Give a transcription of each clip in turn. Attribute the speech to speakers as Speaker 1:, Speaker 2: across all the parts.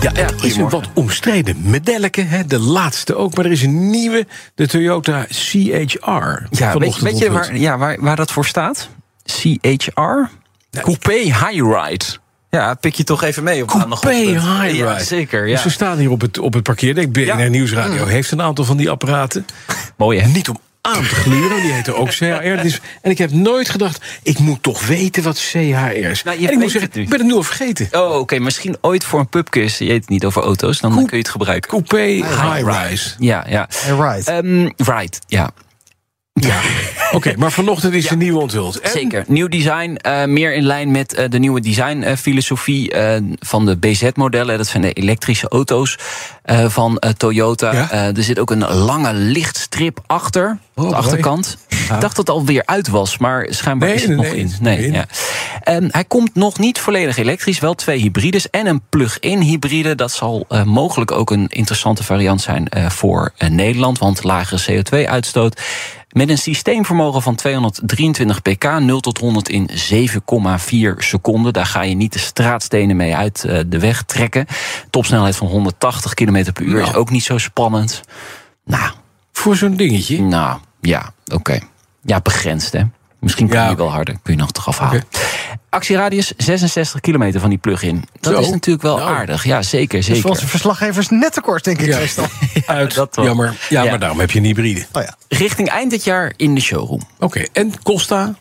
Speaker 1: Ja, er is een wat omstreden medelke, hè, de laatste ook. Maar er is een nieuwe, de Toyota CHR.
Speaker 2: Ja, weet,
Speaker 1: vanochtend
Speaker 2: weet je waar,
Speaker 1: onthuld.
Speaker 2: ja, waar, waar dat voor staat? CHR? Coupé High-Ride. Ja, pik je toch even mee op
Speaker 1: Coupé
Speaker 2: maandagochtend.
Speaker 1: High
Speaker 2: Ja, zeker, ja.
Speaker 1: Dus we staan hier op het, op het parkeerdek. BNR
Speaker 2: Ja. Mm.
Speaker 1: Nieuwsradio heeft een aantal van die apparaten.
Speaker 2: Mooi, hè?
Speaker 1: Niet om aan te gluren, die heten ook CHR. Dus, en ik heb nooit gedacht, ik moet toch weten wat CHR is.
Speaker 2: Nou,
Speaker 1: en
Speaker 2: je
Speaker 1: ik
Speaker 2: weet
Speaker 1: moet zeggen,
Speaker 2: het nu.
Speaker 1: ik ben het nu al vergeten.
Speaker 2: Oh, oké. Misschien ooit voor een pubquiz. Je weet het niet over auto's. Dan kun je het gebruiken.
Speaker 1: Coupé high-rise.
Speaker 2: Ja, ja.
Speaker 3: Right.
Speaker 2: Ehm, right, ja.
Speaker 1: Ja. Oké, maar vanochtend is de nieuwe onthuld. En
Speaker 2: Zeker. Nieuw design, eh, meer in lijn met eh, de nieuwe designfilosofie eh, van de BZ-modellen. Dat zijn de elektrische auto's eh, van eh, Toyota.
Speaker 1: Ja. Oh,
Speaker 2: Eh, er zit ook een lange lichtstrip achter, op de
Speaker 1: mooi.
Speaker 2: achterkant. Ik dacht dat het alweer uit was, maar schijnbaar
Speaker 1: Nee,
Speaker 2: is het
Speaker 1: nee,
Speaker 2: nog
Speaker 1: nee,
Speaker 2: in.
Speaker 1: is
Speaker 2: Nee,
Speaker 1: in.
Speaker 2: Ja. Ehm, hij komt nog niet volledig elektrisch, wel twee hybrides en een plug-in hybride. Dat zal eh, mogelijk ook een interessante variant zijn eh, voor eh, Nederland, want lagere CO2-uitstoot. Met een systeemvermogen van 223 pk, 0 tot 100 in 7,4 seconden. Daar ga je niet de straatstenen mee uit eh, de weg trekken. Topsnelheid van 180 km per uur is
Speaker 1: Nou.
Speaker 2: ook niet zo spannend. Nou,
Speaker 1: voor zo'n dingetje.
Speaker 2: nou, ja, oké. Ja, begrensd, hè. Misschien kun je
Speaker 1: Ja,
Speaker 2: die wel harder, kun je nog toch afhalen. Actieradius 66 kilometer van die plug-in. Dat
Speaker 1: Zo.
Speaker 2: is natuurlijk wel
Speaker 1: Nou.
Speaker 2: aardig. Ja, zeker,
Speaker 3: Dus voor
Speaker 2: zeker.
Speaker 3: onze verslaggevers net te kort, denk ik.
Speaker 1: Ja.
Speaker 3: Tristan.
Speaker 1: Uit.
Speaker 2: dat wel.
Speaker 1: Jammer. Ja,
Speaker 2: Ja.
Speaker 1: maar daarom heb je een hybride.
Speaker 3: Oh ja.
Speaker 2: Richting eind dit jaar in de showroom.
Speaker 1: Oké, en Costa?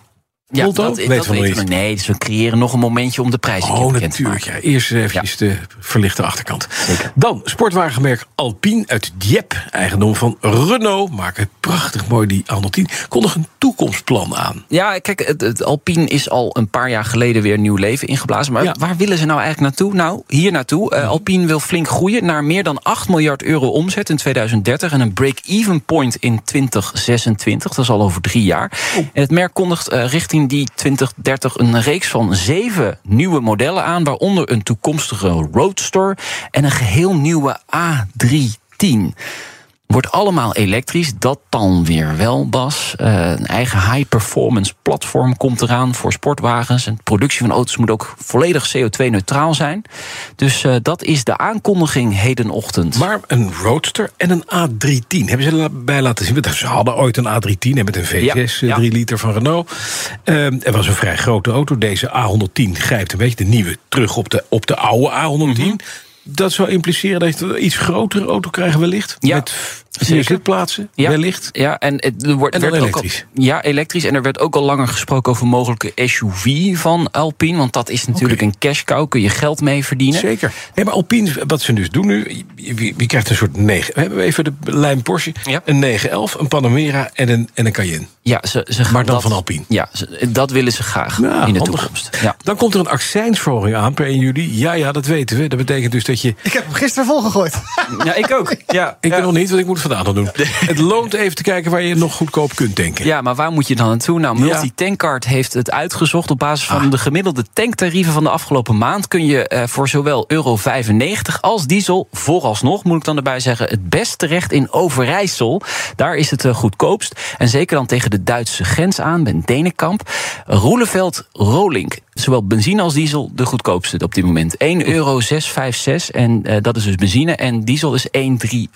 Speaker 2: Ja,
Speaker 1: Volto?
Speaker 2: dat,
Speaker 1: Weten
Speaker 2: dat
Speaker 1: we nog
Speaker 2: weten we.
Speaker 1: niet.
Speaker 2: Nee, dus we creëren nog een momentje om de prijs een keer
Speaker 1: Oh,
Speaker 2: bekend te
Speaker 1: natuurlijk.
Speaker 2: maken.
Speaker 1: Ja. Eerst even de verlichte achterkant. Dan sportwagenmerk Alpine uit Dieppe, eigendom van Renault. Maken prachtig mooi die Aandel 10. Kondig een toekomstplan aan.
Speaker 2: Ja, kijk, het, het Alpine is al een paar jaar geleden weer nieuw leven ingeblazen. Maar
Speaker 1: Ja.
Speaker 2: waar willen ze nou eigenlijk naartoe? Nou, hier naartoe. Eh, Alpine wil flink groeien naar meer dan 8 miljard euro omzet in 2030 en een break-even point in 2026. Dat is al over drie jaar. En het merk kondigt eh, richting die 2030 een reeks van zeven nieuwe modellen aan, waaronder een toekomstige Roadster en een geheel nieuwe A310. Wordt allemaal elektrisch, dat dan weer wel, Bas. Eh, een eigen high-performance platform komt eraan voor sportwagens. En de productie van auto's moet ook volledig CO2-neutraal zijn. Dus eh, dat is de aankondiging hedenochtend.
Speaker 1: Maar een Roadster en een A310 hebben ze erbij laten zien. Want ze hadden ooit een A310 hè, met een V6 eh, 3
Speaker 2: Ja, ja.
Speaker 1: liter van Renault. Ehm het was een vrij grote auto. Deze A110 grijpt een beetje de nieuwe terug op de, op de oude A110.
Speaker 2: Mhm.
Speaker 1: Dat zou impliceren dat je een iets grotere auto krijgt wellicht.
Speaker 2: Ja,
Speaker 1: met vier
Speaker 2: zeker.
Speaker 1: zitplaatsen
Speaker 2: Ja.
Speaker 1: wellicht.
Speaker 2: Ja, en het er wordt
Speaker 1: En dan
Speaker 2: werd
Speaker 1: elektrisch.
Speaker 2: Ook al, ja, elektrisch. En er werd ook al langer gesproken over mogelijke SUV van Alpine. Want dat is natuurlijk
Speaker 1: Oké.
Speaker 2: een cash cow, kun je geld mee verdienen.
Speaker 1: Zeker. Nee, maar Alpine, wat ze dus doen nu, je, je- je krijgt een soort 9. We hebben even de lijn Porsche,
Speaker 2: Ja.
Speaker 1: een 911, een Panamera en een, en een Cayenne.
Speaker 2: Ja, ze, ze gaan
Speaker 1: Maar dan
Speaker 2: dat-
Speaker 1: van Alpine.
Speaker 2: Ja, ze- dat willen ze graag
Speaker 1: Ja,
Speaker 2: in de
Speaker 1: handig.
Speaker 2: toekomst. Ja.
Speaker 1: Dan komt er een accijnsverhoging aan per 1 juli. Ja, ja, dat weten we. Dat betekent dus dat je...
Speaker 3: Ik heb hem gisteren volgegooid.
Speaker 2: ja, ik ook. Ja,
Speaker 1: Ik
Speaker 2: ja.
Speaker 1: wil nog niet, want ik moet het vandaag nog doen. Het loont even te kijken waar je nog goedkoop kunt tanken.
Speaker 2: Ja, maar waar moet je dan naartoe? Nou,
Speaker 1: Ja. Ah.
Speaker 2: Multitankcard heeft het uitgezocht. Op basis van de gemiddelde tanktarieven van de afgelopen maand... kun je eh, voor zowel euro 95 als diesel vooralsnog... moet ik dan erbij zeggen, het best terecht in Overijssel. Daar is het eh, goedkoopst. En zeker dan tegen de Duitse grens aan, bij Denenkamp. Roeleveld Rolink. Zowel benzine als diesel de goedkoopste op dit moment. 1,656 euro. En eh, dat is dus benzine. En diesel is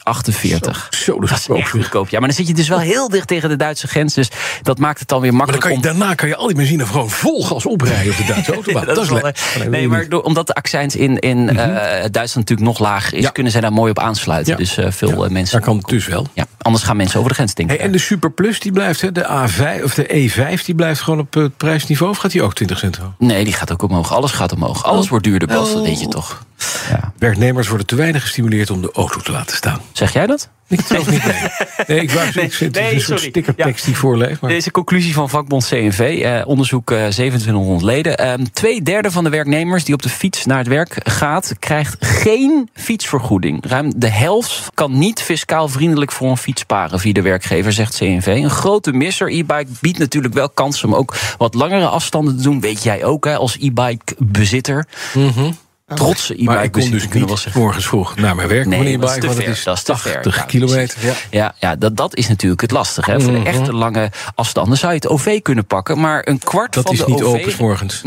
Speaker 2: 1,348.
Speaker 1: Zo, dat
Speaker 2: Dat
Speaker 1: is
Speaker 2: is
Speaker 1: ook
Speaker 2: echt goedkoop. Ja, maar dan zit je dus wel heel dicht tegen de Duitse grens. Dus dat maakt het dan weer
Speaker 1: Maar dan
Speaker 2: makkelijk
Speaker 1: kan je,
Speaker 2: om...
Speaker 1: daarna kan je al die benzine gewoon vol gas oprijden op de Duitse autobahn. dat, is
Speaker 2: wel-
Speaker 1: lekker.
Speaker 2: Nee, maar door- omdat de accijns in, in eh, Duitsland natuurlijk nog laag is...
Speaker 1: Ja.
Speaker 2: kunnen zij daar mooi op aansluiten.
Speaker 1: Ja.
Speaker 2: Dus eh, veel eh, mensen...
Speaker 1: Daar kan het dus wel.
Speaker 2: Ja, anders gaan mensen over de grens denken.
Speaker 1: Hey, en de Super Plus die blijft, hè? de, A5, of de E5, die blijft gewoon op het prijsniveau? Of gaat die ook 20 cent hoog? Oh.
Speaker 2: Nee, die gaat ook omhoog. Alles gaat omhoog. Alles wordt duurder, Bas. Dat weet je toch. Ja.
Speaker 1: Werknemers worden te weinig gestimuleerd om de auto te laten staan.
Speaker 2: Zeg jij dat?
Speaker 1: Ik zelf niet mee. Nee, ik wou zeggen, het is
Speaker 2: nee,
Speaker 1: een soort
Speaker 2: sorry.
Speaker 1: stickertekst die voorleeft. Maar
Speaker 2: Deze conclusie van vakbond CNV, eh, onderzoek eh, 2700 leden. Eh, twee derde van de werknemers die op de fiets naar het werk gaat, krijgt geen fietsvergoeding. Ruim de helft kan niet fiscaal vriendelijk voor een fiets sparen via de werkgever, zegt CNV. Een grote misser. E-bike biedt natuurlijk wel kansen om ook wat langere afstanden te doen. Weet jij ook, hè, als e-bike bezitter. Trotse
Speaker 1: Mhm. maar
Speaker 2: e-bike
Speaker 1: ik kon
Speaker 2: bezitter
Speaker 1: dus
Speaker 2: kunnen we wel
Speaker 1: niet
Speaker 2: zeggen.
Speaker 1: morgens vroeg naar mijn werk.
Speaker 2: Nee,
Speaker 1: meneer
Speaker 2: dat is
Speaker 1: Baai,
Speaker 2: te
Speaker 1: want
Speaker 2: ver,
Speaker 1: het is
Speaker 2: dat is te ver.
Speaker 1: 80
Speaker 2: Ja,
Speaker 1: kilometer. Ja.
Speaker 2: Ja, ja dat, dat is natuurlijk het lastige. Hè. Voor
Speaker 1: Mhm.
Speaker 2: de echte lange afstanden zou je het OV kunnen pakken. Maar een kwart
Speaker 1: Dat
Speaker 2: van
Speaker 1: is
Speaker 2: de
Speaker 1: niet
Speaker 2: OV...
Speaker 1: open 's morgens.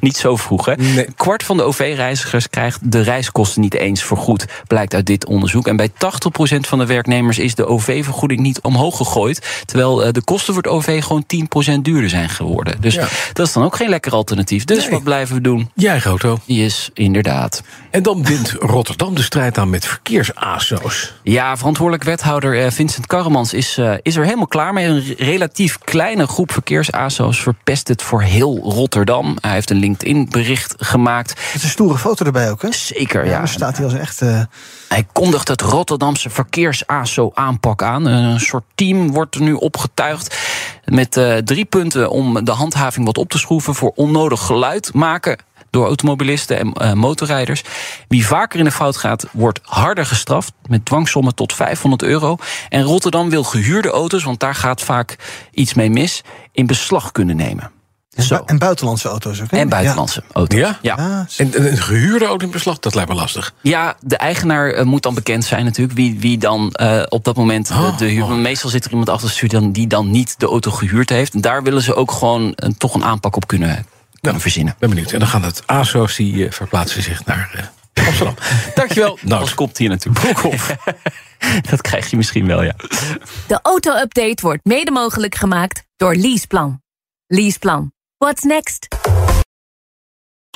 Speaker 2: niet zo vroeg, hè?
Speaker 1: Nee.
Speaker 2: Een kwart van de OV-reizigers krijgt de reiskosten niet eens vergoed, blijkt uit dit onderzoek. En bij 80% van de werknemers is de OV-vergoeding niet omhoog gegooid, terwijl eh, de kosten voor het OV gewoon 10% duurder zijn geworden. Dus
Speaker 1: Ja.
Speaker 2: dat is dan ook geen lekker alternatief. Dus
Speaker 1: Nee.
Speaker 2: wat blijven we doen?
Speaker 1: Jij auto.
Speaker 2: Die is inderdaad.
Speaker 1: En dan wint Rotterdam de strijd aan met verkeersaso's.
Speaker 2: Ja, verantwoordelijk wethouder eh, Vincent Karremans is, eh, is er helemaal klaar mee. Een re- relatief kleine groep verkeersaso's verpest het voor heel Rotterdam. Hij heeft een LinkedIn-bericht gemaakt.
Speaker 3: Het is een stoere foto erbij ook, hè?
Speaker 2: Zeker, ja.
Speaker 3: dan staat hij als echt. eh,
Speaker 2: Hij kondigt het Rotterdamse verkeers-ASO-aanpak aan. Een soort team wordt er nu opgetuigd met eh, drie punten om de handhaving wat op te schroeven voor onnodig geluid maken door automobilisten en eh, motorrijders. Wie vaker in de fout gaat, wordt harder gestraft met dwangsommen tot 500 euro. En Rotterdam wil gehuurde auto's, want daar gaat vaak iets mee mis, in beslag kunnen nemen.
Speaker 3: en,
Speaker 2: Zo.
Speaker 3: bu- en buitenlandse auto's ook. hè?
Speaker 2: En buitenlandse auto's.
Speaker 1: Ja?
Speaker 2: Ja.
Speaker 3: Ja. Ja,
Speaker 1: En en een gehuurde auto in beslag, dat lijkt me lastig.
Speaker 2: Ja, de eigenaar eh, moet dan bekend zijn natuurlijk. Wie, wie dan eh, op dat moment de-
Speaker 1: Oh,
Speaker 2: de huur...
Speaker 1: oh.
Speaker 2: want Meestal zit er iemand achter de stuur dan- die dan niet de auto gehuurd heeft. En daar willen ze ook gewoon een- toch een aanpak op kunnen, kunnen verzinnen.
Speaker 1: Ben benieuwd. En dan gaan het ASO's die eh, verplaatsen zich naar eh, Amsterdam. Dankjewel. Nou,
Speaker 2: Als komt hier natuurlijk. dat krijg je misschien wel, ja.
Speaker 4: De auto-update wordt mede mogelijk gemaakt door Leaseplan. Leaseplan. What's next?